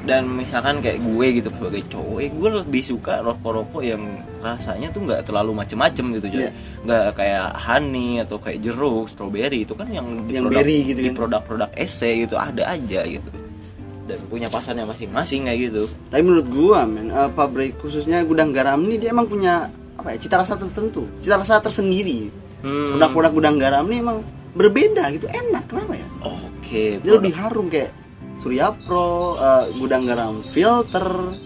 S2: Dan misalkan kayak gue gitu sebagai cowok, eh, gue lebih suka rokok-rokok yang rasanya tuh nggak terlalu macem-macem gitu jadi
S3: Iya.
S2: nggak kayak honey atau kayak jeruk, strawberry itu kan yang di
S3: Yang
S2: produk-
S3: berry gitu
S2: di
S3: kan.
S2: produk-produk ese gitu ada aja gitu dan punya pasarnya masing-masing kayak gitu.
S3: Tapi menurut gua men, eh, pabrik khususnya gudang garam ini dia emang punya apa ya cita rasa tertentu, cita rasa tersendiri.
S2: Hmm.
S3: Produk-produk gudang garam ini emang berbeda gitu, enak kenapa ya?
S2: Oke,
S3: Dia lebih harum kayak Surya Pro, eh, gudang garam filter,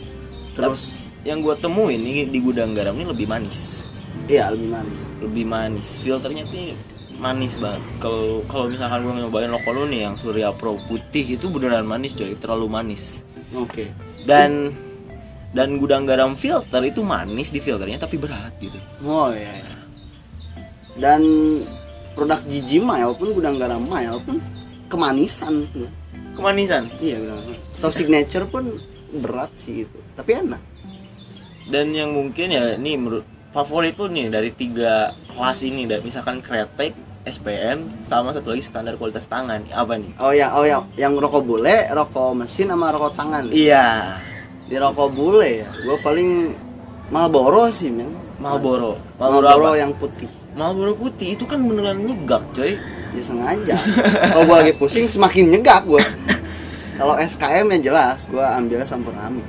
S3: terus
S2: Terus yang gue temuin ini di gudang garam ini lebih manis,
S3: iya lebih manis.
S2: lebih manis. Filternya tuh manis banget. Kalau kalau misalkan gue nyobain rokok lu nih yang Surya Pro putih itu beneran manis coy, terlalu manis.
S3: Oke.
S2: Dan dan gudang garam filter itu manis di filternya tapi berat gitu.
S3: Oh iya. iya. Oh, Dan produk jiji mile pun gudang garam mile pun kemanisan tuh.
S2: kemanisan
S3: iya gudang garam. atau signature pun berat sih itu tapi enak
S2: dan yang mungkin ya ini menurut favorit tuh nih dari tiga kelas ini dan misalkan kretek SPM sama satu lagi standar kualitas tangan apa nih
S3: oh ya oh ya yang rokok bule rokok mesin sama rokok tangan
S2: iya
S3: di rokok bule ya gue paling Marlboro sih men
S2: Marlboro Marlboro,
S3: Marlboro
S2: apa?
S3: yang putih
S2: Marlboro putih itu kan beneran nyegak coy
S3: ya sengaja kalau gue lagi pusing semakin nyegak gue kalau SKM yang ya jelas gue ambilnya Sampurnami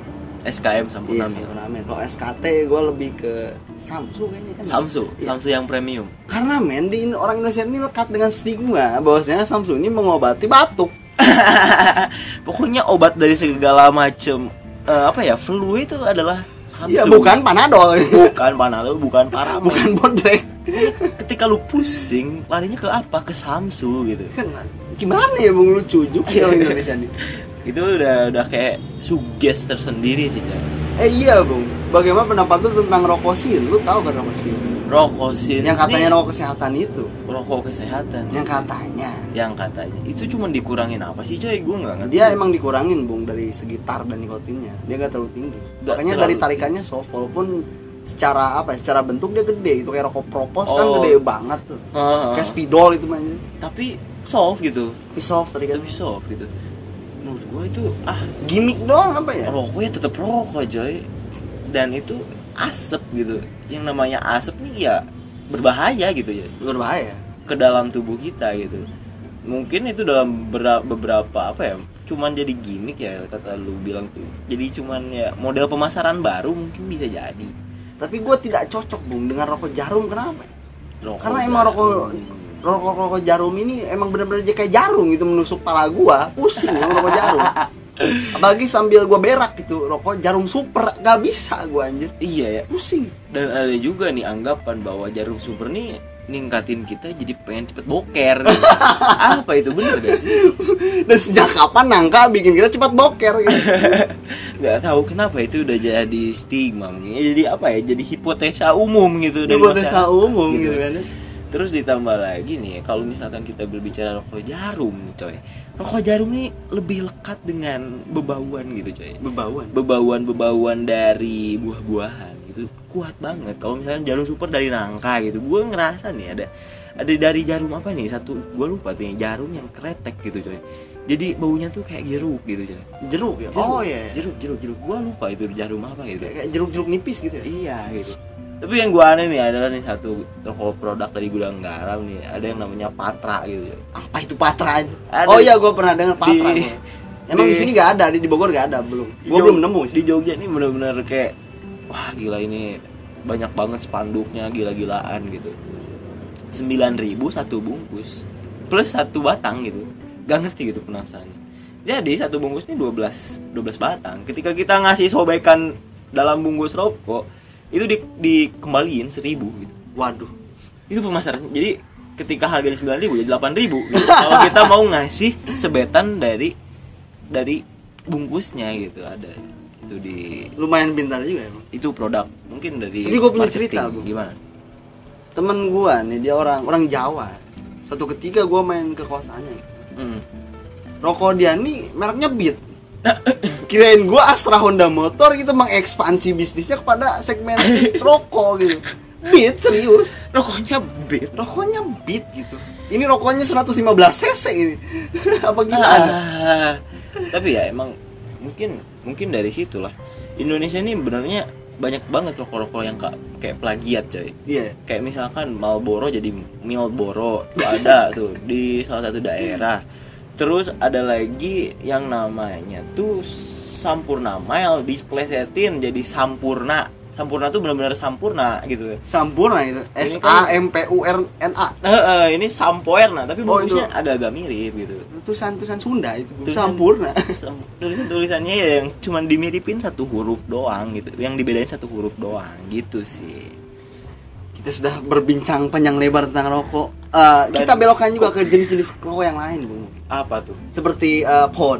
S2: SKM
S3: Iya,
S2: Sampurnamil
S3: Sampurnamil. Kalau SKT gue lebih ke Samsu kayaknya kan.
S2: Samsu
S3: Iya.
S2: Samsu yang premium
S3: Karena men di orang Indonesia ini lekat dengan stigma bahwasanya Samsu ini mengobati batuk.
S2: pokoknya obat dari segala macem eh, apa ya flu itu adalah Samsu
S3: Ya bukan Panadol.
S2: bukan Panadol bukan Paramen
S3: bukan bodrek.
S2: ketika lu pusing larinya ke apa ke Samsu gitu
S3: Kan, Gimana ya Bung lucu juga ya orang Indonesia ini.
S2: itu udah udah kayak suges tersendiri sih coy
S3: Eh iya Bung, bagaimana pendapat lu tentang rokosin? Lu tahu kan rokosin?
S2: rokok sih
S3: Yang katanya rokok kesehatan itu,
S2: rokok kesehatan
S3: yang katanya
S2: yang katanya itu cuman dikurangin apa sih coy gue nggak ngerti
S3: dia emang dikurangin bung dari segi tar dan nikotinnya dia gak terlalu tinggi
S2: Nggak
S3: makanya
S2: terlalu
S3: dari tarikannya soft walaupun secara apa ya secara bentuk dia gede itu kayak rokok propos kan
S2: Oh. Ah.
S3: gede banget tuh
S2: Heeh.
S3: kayak spidol itu mainnya
S2: tapi soft gitu
S3: tapi soft tarikan
S2: tapi soft gitu menurut gue itu ah
S3: gimmick doang apa ya
S2: rokoknya tetap rokok coy dan itu asap gitu yang namanya asap nih ya berbahaya gitu ya
S3: berbahaya
S2: ke dalam tubuh kita gitu mungkin itu dalam bera- beberapa apa ya cuman jadi gimmick ya kata lu bilang tuh jadi cuman ya model pemasaran baru mungkin bisa jadi
S3: tapi gue tidak cocok bung dengan rokok jarum kenapa ya?
S2: Rokok
S3: karena emang
S2: jarum.
S3: rokok rokok rokok jarum ini emang bener-bener aja kayak jarum gitu menusuk pala gua pusing emang rokok jarum apalagi sambil gua berak gitu rokok jarum super gak bisa gua anjir
S2: iya ya
S3: pusing
S2: dan ada juga nih anggapan bahwa jarum super nih ningkatin kita jadi pengen cepet boker gitu. apa itu bener gak sih
S3: Dan sejak kapan nangka bikin kita cepat boker gitu?
S2: nggak tahu kenapa itu udah jadi stigma mungkin jadi apa ya jadi hipotesa umum gitu dari
S3: Hipotesa
S2: masyarakat,
S3: umum gitu kan.
S2: terus ditambah lagi nih kalau misalkan kita berbicara rokok jarum nih, coy rokok jarum ini lebih lekat dengan bebauan gitu coy
S3: Bebauan.
S2: bebauan bebauan dari buah-buahan itu kuat banget kalau misalkan jarum super dari nangka gitu gue ngerasa nih ada ada dari jarum apa nih satu gue lupa tuh yang jarum yang kretek gitu coy jadi baunya tuh kayak jeruk gitu coy
S3: Jeruk ya.
S2: Jeruk,
S3: Oh iya. Jeruk.
S2: jeruk jeruk jeruk gue lupa itu jarum apa gitu
S3: Kayak kayak jeruk-jeruk nipis gitu ya.
S2: iya gitu tapi yang gue aneh nih adalah nih satu toko produk dari gudang garam nih ada yang namanya patra gitu coy.
S3: Apa itu patra aja?
S2: Ada.
S3: Oh iya, gua pernah dengar patra.
S2: Di-
S3: gua. Emang
S2: di-
S3: di, sini nggak ada, di di Bogor nggak ada belum.
S2: Di
S3: Gua
S2: Jog-
S3: belum nemu
S2: di
S3: sih.
S2: Jogja nih bener-bener kayak wah gila ini banyak banget spanduknya gila-gilaan gitu 9000 satu bungkus plus satu batang gitu gak ngerti gitu penasarannya jadi satu bungkus ini 12 12 batang ketika kita ngasih sobekan dalam bungkus rokok itu di, dikembaliin 1000 gitu
S3: Waduh.
S2: itu pemasaran jadi ketika harga di 9000 jadi 8000 gitu. kalau kita mau ngasih sebetan dari dari bungkusnya gitu ada itu di
S3: Lumayan pintar juga emang.
S2: itu produk mungkin dari
S3: Tapi gua punya
S2: marketing.
S3: cerita, Bu.
S2: gimana
S3: Temen gua nih dia orang orang Jawa. Satu ketika gua main ke kosannya.
S2: Hmm.
S3: Rokok dia nih mereknya Beat. Kirain gua Astra Honda Motor gitu mengekspansi bisnisnya kepada segmen rokok gitu. Beat serius.
S2: rokoknya bit
S3: rokoknya beat gitu ini rokoknya 115 cc ini apa gimana
S2: Ah, tapi ya emang mungkin mungkin dari situlah Indonesia ini benernya banyak banget rokok-rokok yang ka- kayak plagiat coy
S3: iya
S2: kayak misalkan Malboro jadi Milboro tuh ada tuh di salah satu daerah terus ada lagi yang namanya tuh Sampurna Mile displesetin jadi Sampurna Sampurna tuh benar-benar Sampurna gitu
S3: sampurna itu S
S2: Ini
S3: A
S2: kan-
S3: M P U R N A
S2: Eh, eh, ini Sampoerna tapi
S3: Oh,
S2: bungkusnya
S3: itu.
S2: agak-agak mirip gitu
S3: tulisan tulisan Sunda itu Bu.
S2: Tulisan-
S3: sampurna
S2: tulisan tulisannya ya yang cuman dimiripin satu huruf doang gitu yang dibedain satu huruf doang gitu sih
S3: kita sudah berbincang panjang lebar tentang rokok Eh, kita belokkan juga ke jenis-jenis rokok yang lain bu
S2: apa tuh
S3: seperti eh, pod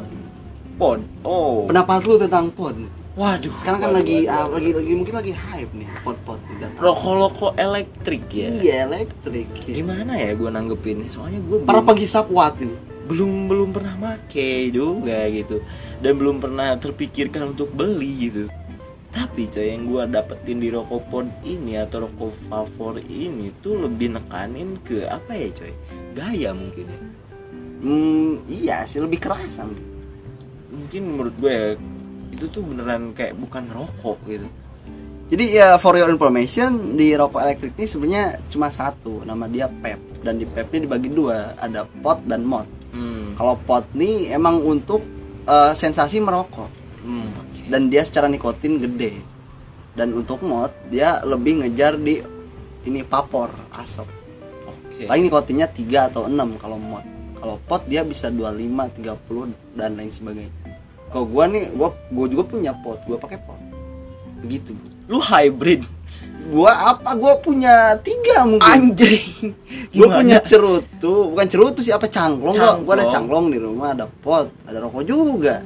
S2: pod oh
S3: pendapat lu tentang pod
S2: Waduh.
S3: Sekarang kan
S2: waduh,
S3: lagi
S2: waduh,
S3: ah,
S2: waduh.
S3: lagi lagi mungkin lagi hype nih pot-pot di dalam.
S2: roko-roko elektrik ya.
S3: Iya elektrik.
S2: Gimana ya gue nanggepinnya? Soalnya gue
S3: Para penghisap watt ini.
S2: belum belum pernah make juga gitu dan belum pernah terpikirkan untuk beli gitu tapi coy yang gua dapetin di rokopod ini atau rokok favor ini tuh lebih nekanin ke apa ya coy gaya mungkin ya
S3: Hmm, iya sih lebih kerasa.
S2: mungkin menurut gue ya, itu tuh beneran kayak bukan rokok gitu
S3: Jadi ya for your information di rokok elektrik ini sebenarnya cuma satu nama dia pep dan di pep ini dibagi dua ada pot dan mod.
S2: hmm,
S3: Kalau pot nih emang untuk eh, sensasi merokok
S2: hmm, oke.
S3: dan dia secara nikotin gede. Dan untuk mod dia lebih ngejar di ini vapor asap.
S2: Oke.
S3: Paling nikotinnya 3 atau 6 kalau mod. Kalau pot dia bisa 25, 30 dan lain sebagainya. Kalau gua nih gua gua juga punya pot, gua pakai pot. Begitu.
S2: lu hybrid
S3: Gua apa? Gua punya tiga mungkin.
S2: anjing
S3: Gue
S2: Gimana?
S3: punya cerutu, bukan cerutu sih apa cangklong? Gua, gua ada cangklong
S2: Cangklong.
S3: di rumah, ada pot, ada rokok juga.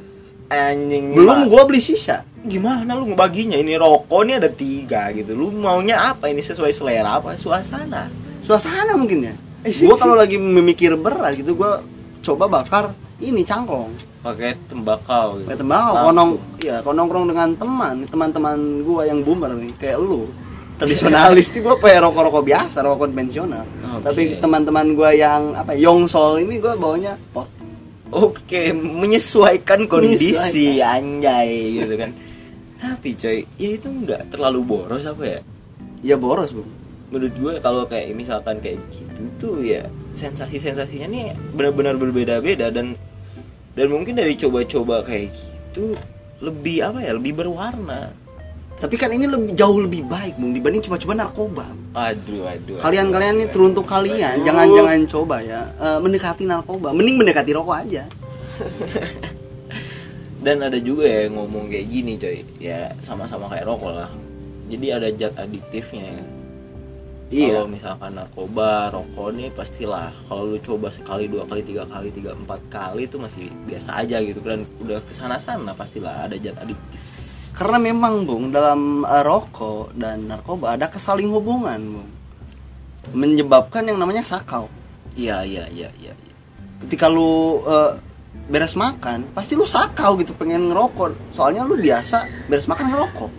S2: anjing
S3: Belum
S2: gimana?
S3: gua beli sisa.
S2: gimana lu ngebaginya ini rokok ini ada tiga gitu lu maunya apa ini sesuai selera apa suasana
S3: Suasana mungkin ya. Gua kalau lagi memikir berat gitu gua coba bakar ini cangklong.
S2: pakai tembakau gitu.
S3: Kayak tembakau
S2: Langsung.
S3: konong iya, kalau nongkrong dengan teman, teman-teman gua yang boomer nih kayak lu.
S2: Iya.
S3: Tradisionalis nih gua kayak rokok-rokok biasa, rokok konvensional.
S2: Oke.
S3: Tapi teman-teman gua yang apa ya, yongsol ini gua bawanya pot.
S2: oke menyesuaikan kondisi anjay gitu kan tapi coy ya itu nggak terlalu boros apa ya
S3: Ya boros, Bung.
S2: menurut gue kalau kayak misalkan kayak gitu tuh ya sensasi sensasinya nih benar-benar berbeda-beda dan dan mungkin dari coba-coba kayak gitu lebih apa ya lebih berwarna
S3: Tapi kan ini lebih jauh lebih baik Bung dibanding cuma-cuma narkoba.
S2: aduh aduh aduh,
S3: Kalian-kalian ini
S2: aduh,
S3: teruntuk
S2: aduh,
S3: kalian,
S2: aduh.
S3: jangan-jangan coba ya eh, mendekati narkoba. Mending mendekati rokok aja.
S2: dan ada juga ya yang ngomong kayak gini coy ya sama-sama kayak rokok lah jadi ada zat adiktifnya ya.
S3: Iya.
S2: kalau misalkan narkoba rokok nih pastilah kalau lu coba sekali dua kali tiga kali tiga empat kali itu masih biasa aja gitu dan udah kesana sana pastilah ada zat adiktif
S3: Karena memang Bung dalam eh, rokok dan narkoba ada kesaling hubungan Bung. Menyebabkan yang namanya sakau.
S2: iya iya iya iya iya.
S3: Ketika lu eh, beres makan, pasti lu sakau gitu pengen ngerokok. Soalnya lu biasa beres makan ngerokok.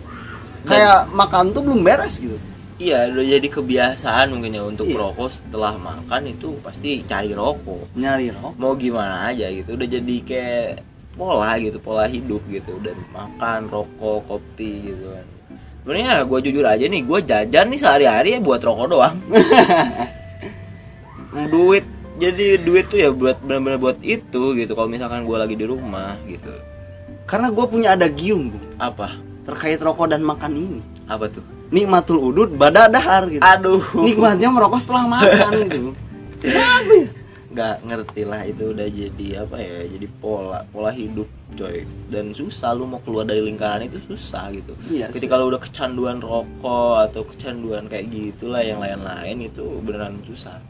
S3: Kayak makan tuh belum beres gitu.
S2: iya udah jadi kebiasaan mungkin ya untuk
S3: Iya.
S2: rokok setelah makan itu pasti cari rokok
S3: Nyari rokok.
S2: mau gimana aja gitu udah jadi kayak pola gitu pola hidup gitu dan makan rokok kopi gitu kan sebenarnya gue jujur aja nih gue jajan nih sehari-hari ya buat rokok doang Nah, duit jadi duit tuh ya buat benar-benar buat itu gitu kalau misalkan gue lagi di rumah gitu
S3: Karena gue punya adagium Bung
S2: apa
S3: terkait rokok dan makan ini.
S2: apa tuh
S3: nikmatul udud bada dahar gitu.
S2: aduh
S3: Nikmatnya merokok setelah makan gitu. Kenapa ya?
S2: nggak ngerti lah itu udah jadi apa ya jadi pola pola hidup coy dan susah lu mau keluar dari lingkaran itu susah gitu
S3: Iya sih.
S2: ketika lu udah kecanduan rokok atau kecanduan kayak gitulah yang lain-lain itu beneran susah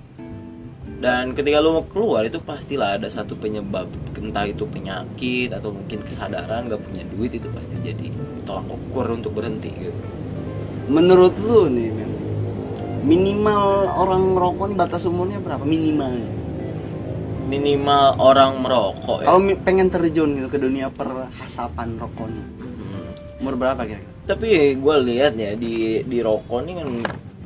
S2: dan ketika lu mau keluar itu pastilah ada satu penyebab entah itu penyakit atau mungkin kesadaran gak punya duit itu pasti jadi tolak ukur untuk berhenti gitu
S3: Menurut lu nih, men, minimal orang merokok nih batas umurnya berapa minimalnya?
S2: minimal orang merokok ya
S3: Kalau mi- pengen terjun gitu ke dunia perhasapan rokok nih,
S2: Mhm.
S3: umur berapa kira-kira?
S2: tapi gue lihat ya di di rokok nih kan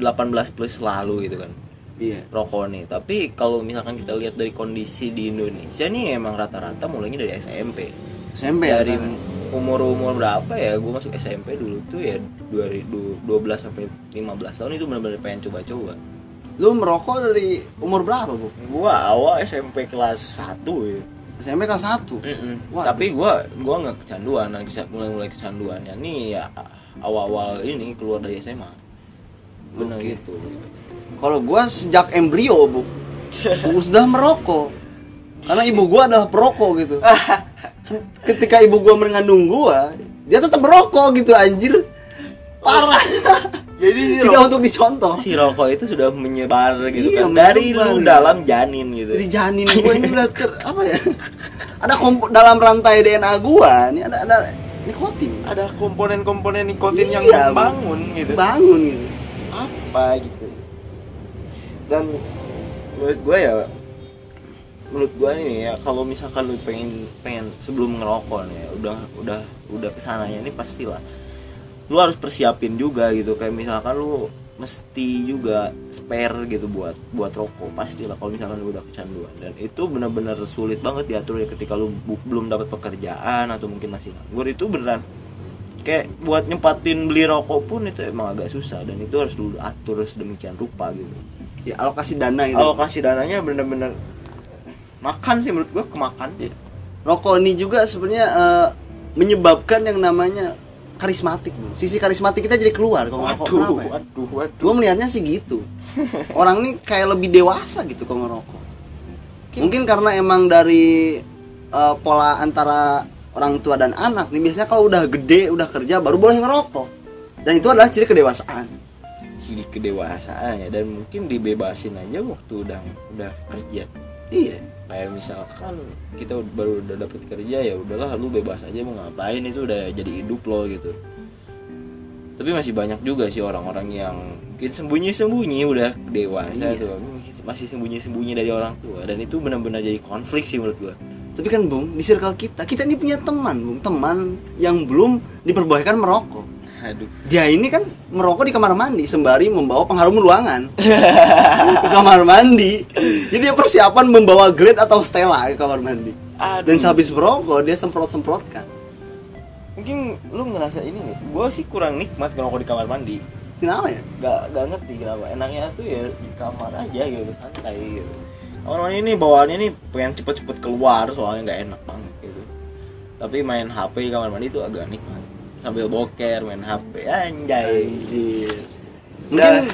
S2: 18 plus lalu gitu kan
S3: Iya.
S2: rokok nih tapi kalau misalkan kita lihat dari kondisi di Indonesia nih emang rata-rata mulainya dari SMP
S3: SMP ya?
S2: dari
S3: kan?
S2: umur umur berapa ya gue masuk SMP dulu tuh ya dari du- 12 sampai 15 tahun itu benar-benar pengen coba-coba
S3: Lu merokok dari umur berapa, Bu?
S2: gue awal SMP kelas 1 ya
S3: SMP kelas 1.
S2: Mm-mm.
S3: Wah.
S2: Tapi gua gua nggak kecanduan dan kesa- mulai-mulai kecanduannya nih ya awal-awal ini keluar dari SMA. Benar
S3: Oke.
S2: gitu.
S3: Kalau gua sejak embrio, Bu. Gua sudah merokok. Karena ibu gua adalah perokok gitu. Se- Ketika ibu gua mengandung gua, dia tetap merokok gitu anjir. Parah.
S2: Jadi si
S3: Tidak
S2: rokok,
S3: untuk dicontoh.
S2: si rokok itu sudah menyebar gitu
S3: Iya,
S2: kan dari
S3: menyebar,
S2: lu
S3: gitu.
S2: dalam janin gitu.
S3: Jadi janin gua ini udah ter- apa ya? Ada kompo dalam rantai DNA gua, ini ada ada nikotin
S2: ada komponen-komponen nikotin yang
S3: Iya, Bang.
S2: bangun gitu
S3: bangun gitu
S2: apa gitu dan menurut gue ya menurut gue nih ya kalau misalkan lu pengen pengen sebelum ngerokok nih ya, udah udah udah kesananya ini pastilah lu harus persiapin juga gitu kayak misalkan lu mesti juga spare gitu buat buat rokok pastilah kalau misalkan lu udah kecanduan dan itu benar-benar sulit banget diatur ya ketika lu bu- belum dapat pekerjaan atau mungkin masih nganggur itu beneran kayak buat nyempatin beli rokok pun itu emang agak susah dan itu harus dulu atur sedemikian rupa gitu
S3: ya alokasi dana gitu
S2: alokasi dananya bener-bener makan sih menurut gua kemakan
S3: Ya. rokok ini juga sebenarnya eh, menyebabkan yang namanya karismatik Bro. sisi karismatik kita jadi keluar kalau ngerokok
S2: waduh
S3: kenapa ya?
S2: waduh waduh
S3: gue melihatnya sih gitu orang ini kayak lebih dewasa gitu kalau ngerokok mungkin karena emang dari eh, pola antara orang tua dan anak nih biasanya kalau udah gede udah kerja baru boleh ngerokok dan itu adalah ciri kedewasaan
S2: jadi kedewasaan ya dan mungkin dibebasin aja waktu udah udah kerja
S3: iya
S2: kayak misalkan kita baru udah dapet kerja ya udahlah lu bebas aja mau ngapain itu udah jadi hidup lo gitu tapi masih banyak juga sih orang-orang yang mungkin sembunyi-sembunyi udah dewasa
S3: Iya.
S2: tuh masih sembunyi-sembunyi dari orang tua dan itu benar-benar jadi konflik sih menurut gua
S3: tapi kan bung di circle kita kita ini punya teman bung teman yang belum diperbolehkan merokok
S2: aduh
S3: dia ini kan merokok di kamar mandi sembari membawa pengharum ruangan ke kamar mandi jadi dia persiapan membawa Glade atau Stella ke kamar mandi
S2: Aduh.
S3: dan sehabis merokok dia semprot semprotkan
S2: mungkin lu ngerasa ini nih gua sih kurang nikmat ngerokok di kamar mandi
S3: kenapa ya
S2: gak, gak ngerti kenapa enaknya tuh ya di kamar aja gitu santai gitu orang ini bawaannya nih pengen cepet-cepet keluar soalnya nggak enak banget gitu tapi main HP di kamar mandi itu agak nikmat sambil boker main HP anjay
S3: mungkin
S2: Dah.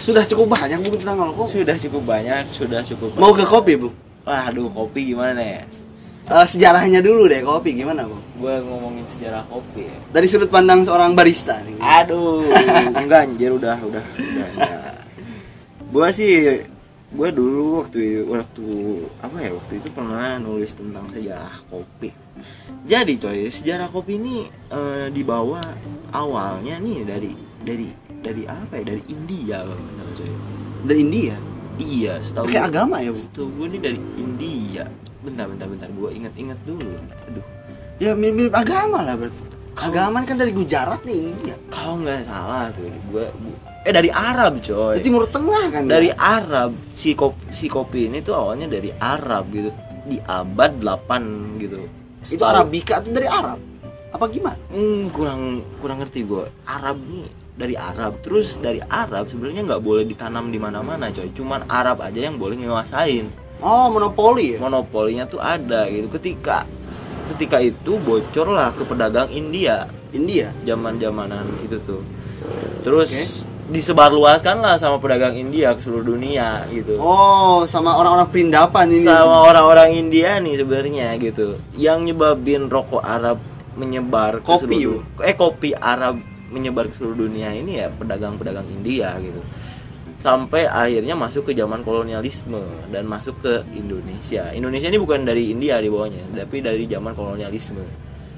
S3: sudah cukup banyak buku tentang rokok
S2: sudah cukup banyak sudah cukup
S3: mau ke kopi bu
S2: wah aduh kopi gimana ya
S3: Eh, sejarahnya dulu deh kopi gimana bu
S2: gue ngomongin sejarah kopi ya
S3: dari sudut pandang seorang barista nih.
S2: Aduh, enggak anjir udah udah udah. udah. gua sih gua dulu waktu waktu apa ya waktu itu pernah nulis tentang sejarah kopi. Jadi coy, sejarah kopi ini eh, dibawa awalnya nih dari dari dari apa ya? Dari India kalau nggak salah, coy.
S3: dari India
S2: Iya, setahu
S3: Pakai
S2: gua-
S3: agama ya, Bu?
S2: Setahu gue ini dari India. Bentar bentar bentar gua ingat-ingat dulu. Aduh.
S3: ya mirip, mirip agama lah berarti agama kan dari Gujarat nih India
S2: Kalau nggak salah tuh gua, gua- eh dari Arab
S3: Di
S2: coy.
S3: Timur Tengah kan ya?
S2: dari Arab si kopi, si kopi ini tuh awalnya dari Arab gitu di abad 8 gitu
S3: itu Arabika itu dari Arab apa gimana
S2: Hmm, kurang kurang ngerti gue Arab nih dari Arab terus dari Arab sebenarnya nggak boleh ditanam di mana-mana coy cuman Arab aja yang boleh nguasain
S3: oh monopoli ya
S2: monopolinya tuh ada gitu ketika ketika itu bocorlah ke pedagang India
S3: India
S2: zaman zamanan itu tuh terus
S3: Oke.
S2: disebarluaskan lah sama pedagang India ke seluruh dunia gitu
S3: oh sama orang-orang perindapan ini
S2: sama orang-orang India nih sebenarnya gitu yang nyebabin rokok Arab menyebar ke
S3: Kopi,
S2: seluruh eh kopi Arab menyebar ke seluruh dunia ini ya pedagang-pedagang India gitu sampai akhirnya masuk ke zaman kolonialisme dan masuk ke Indonesia Indonesia ini bukan dari India di bawahnya tapi dari zaman kolonialisme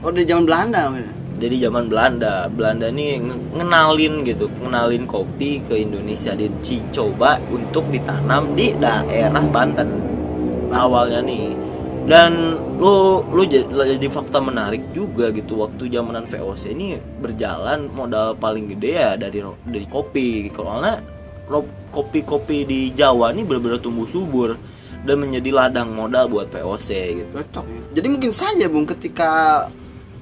S3: oh dari zaman Belanda men.
S2: dari zaman Belanda Belanda nih nge- ngenalin gitu ngenalin kopi ke Indonesia dicoba untuk ditanam di daerah Banten awalnya nih dan lu lu jadi, jadi fakta menarik juga gitu waktu zamanan VOC ini berjalan modal paling gede ya dari ro- dari kopi karena ro- kopi-kopi di Jawa ini benar-benar tumbuh subur dan menjadi ladang modal buat VOC gitu
S3: cocok ya jadi mungkin saja bung ketika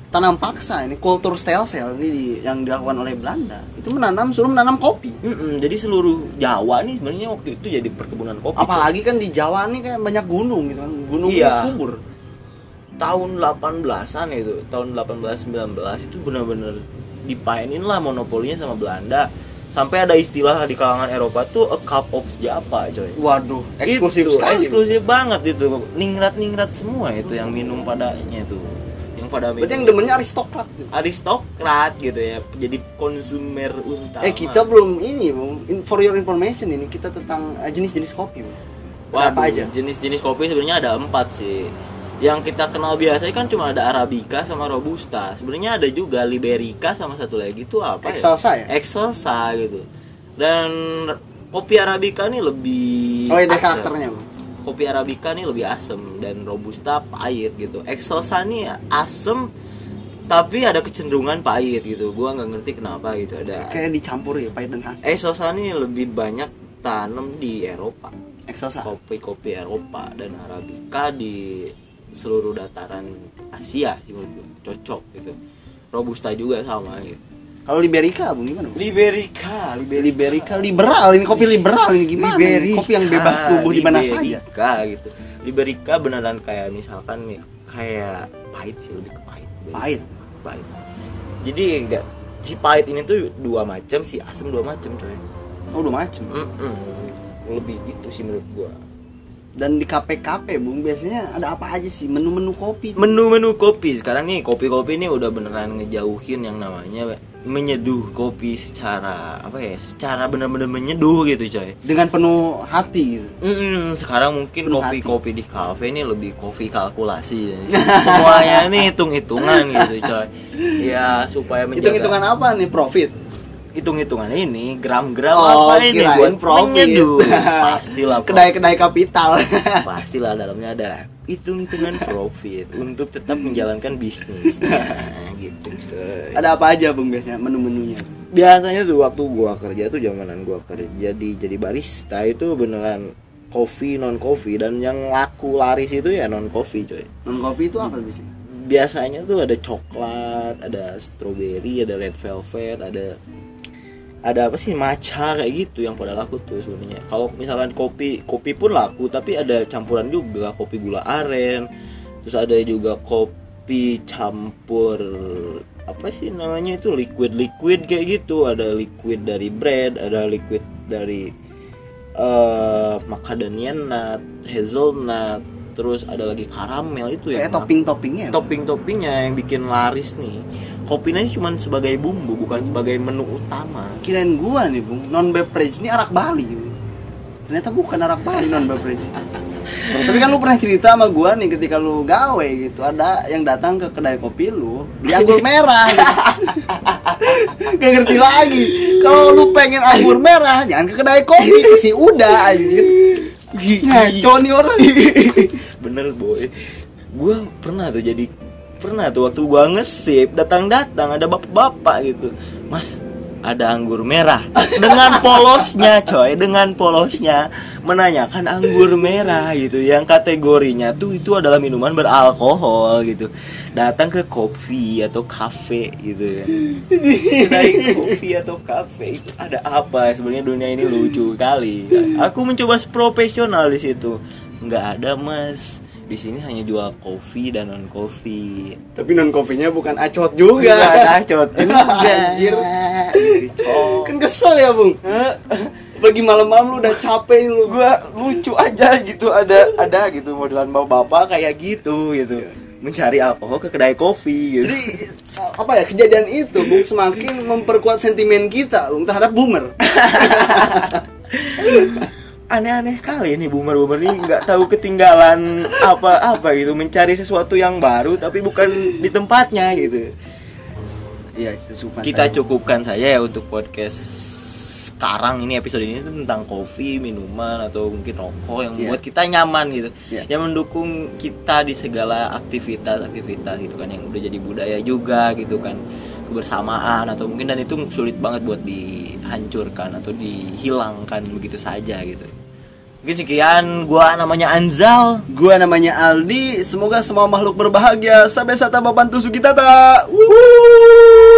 S3: tanam paksa ini kultur stelsel ini di- yang dilakukan oleh Belanda itu menanam suruh menanam kopi
S2: Mm-mm, jadi seluruh Jawa nih sebenarnya waktu itu jadi perkebunan kopi.
S3: apalagi kan di Jawa nih kan banyak gunung gitu kan gunung
S2: Iya.
S3: subur
S2: tahun 18-an itu, tahun 18-19 itu benar-benar dipainin lah monopolinya sama Belanda. Sampai ada istilah di kalangan Eropa tuh a cup of Java, coy.
S3: waduh eksklusif
S2: Itu,
S3: sekali
S2: Eksklusif banget itu. Ningrat-ningrat semua itu yang minum padanya itu. Yang pada minum.
S3: berarti yang demennya aristokrat gitu.
S2: aristokrat gitu ya. Jadi konsumer utama.
S3: eh kita belum ini bung In- for your information ini kita tentang eh, jenis-jenis kopi bung
S2: Waduh,
S3: apa aja
S2: Jenis-jenis kopi sebenarnya ada empat sih. yang kita kenal biasanya kan cuma ada arabica sama robusta sebenarnya ada juga liberica sama satu lagi itu apa
S3: Excelsa ya?
S2: ya excelsa gitu dan kopi arabica ini lebih
S3: Oh, ini
S2: asam.
S3: karakternya, Bang.
S2: kopi arabica ini lebih asem dan robusta pahit gitu excelsa ini asem tapi ada kecenderungan pahit gitu gua nggak ngerti kenapa gitu ada
S3: Kayak dicampur ya pahit dan khas.
S2: excelsa ini lebih banyak tanam di Eropa
S3: Excelsa.
S2: kopi-kopi Eropa dan Arabica di seluruh dataran Asia sih menurut gue. cocok gitu Robusta juga sama gitu
S3: Kalau Liberica, Bung gimana? Bung?
S2: Liberica
S3: Liberica liberal ini kopi liberal ini gimana? ini?
S1: Liberica,
S3: Kopi yang
S2: Ah,
S3: bebas tubuh di mana saja.
S2: Liberica gitu Liberica beneran kayak misalkan nih kayak pahit sih lebih ke pahit
S3: Pahit.
S2: pahit jadi enggak si pahit ini tuh dua macam si asam dua macam coy
S3: Oh, udah macem.
S2: Mm-mm. lebih gitu sih menurut gua
S3: Dan di kafe-kafe, Bung, biasanya ada apa aja sih menu-menu kopi?
S2: menu-menu kopi sekarang nih kopi-kopi ini udah beneran ngejauhin yang namanya menyeduh kopi secara apa ya secara bener-bener menyeduh gitu coy
S3: dengan penuh hati gitu.
S2: Mm-mm, sekarang mungkin
S3: Penuh
S2: kopi-kopi di kafe ini lebih kopi kalkulasi semuanya nih hitung-hitungan gitu coy ya supaya menjaga
S3: Hitung-hitungan apa nih profit?
S2: hitung-hitungan ini gram-gram
S3: Oh,
S2: apa ini
S3: kirain
S2: buat
S3: profit.
S2: menyeduh pastilah
S3: Kedai-kedai kapital.
S2: pastilah dalamnya ada hitung-hitungan profit untuk tetap menjalankan bisnis Nah, gitu coy
S3: ada apa aja Bung biasanya menu-menunya?
S2: biasanya tuh waktu gua kerja tuh zamanan gua kerja di jadi barista itu beneran kopi non kopi dan yang laku laris itu ya non kopi coy
S3: Non kopi itu apa biasanya?
S2: biasanya tuh ada coklat ada strawberry ada red velvet ada ada apa sih matcha kayak gitu yang pada laku tuh sebenarnya kalau misalkan kopi kopi pun laku tapi ada campuran juga kopi gula aren terus ada juga kopi campur apa sih namanya itu liquid liquid kayak gitu ada liquid dari bread ada liquid dari eh macadamia nut hazelnut terus ada lagi karamel itu ya
S3: Kayak topping-toppingnya. ya, Bung?
S2: topping-toppingnya yang bikin laris nih kopinya cuma sebagai bumbu bukan sebagai menu utama
S3: Kirain gua nih Bung, non beverage ini arak Bali. Bung. Ternyata bukan arak Bali non beverage. Tapi kan lu pernah cerita sama gua nih ketika lu gawe gitu, ada yang datang ke kedai kopi lu, beli anggur merah. Gitu. Gak ngerti lagi. Kalau lu pengen anggur merah, jangan ke kedai kopi, ke si Uda anjir. Ngaco nih orang.
S2: bener boy gue pernah tuh jadi pernah tuh waktu gua ngesip datang-datang ada bapak-bapak gitu mas ada anggur merah dengan polosnya coy dengan polosnya menanyakan anggur merah gitu yang kategorinya tuh itu adalah minuman beralkohol gitu datang ke kopi atau kafe gitu kan kedai kopi atau kafe itu ada apa ya? sebenarnya dunia ini lucu kali aku mencoba profesional di situ nggak ada mas di sini hanya jual kopi dan non kopi
S3: Tapi non kopinya bukan acot juga.
S2: nggak kacot juga
S3: Anjir.
S2: Cok.
S3: Kan kesel ya, Bung. Pagi malam-malam lu udah capek nih lu.
S2: gua lucu aja gitu ada ada gitu modelan bapak-bapak kayak gitu gitu mencari alkohol ke kedai kopi gitu
S3: Jadi apa ya kejadian itu, Bung, semakin memperkuat sentimen kita Bung terhadap boomer.
S2: aneh-aneh kali ini boomer-boomer ini nggak tahu ketinggalan apa-apa gitu mencari sesuatu yang baru tapi bukan di tempatnya gitu
S3: Iya, itu sumpah
S2: kita
S3: saya.
S2: cukupkan saja ya untuk podcast sekarang ini episode ini tuh tentang kopi minuman atau mungkin rokok yang
S3: Iya.
S2: membuat kita nyaman gitu
S3: Iya.
S2: yang mendukung kita di segala aktivitas-aktivitas gitu kan yang udah jadi budaya juga gitu kan kebersamaan atau mungkin dan itu sulit banget buat dihancurkan atau dihilangkan begitu saja gitu mungkin sekian gua namanya Anzal
S3: Gua namanya Aldi, semoga semua makhluk berbahagia. Sampai sata babantu sugitata. Wuhuu.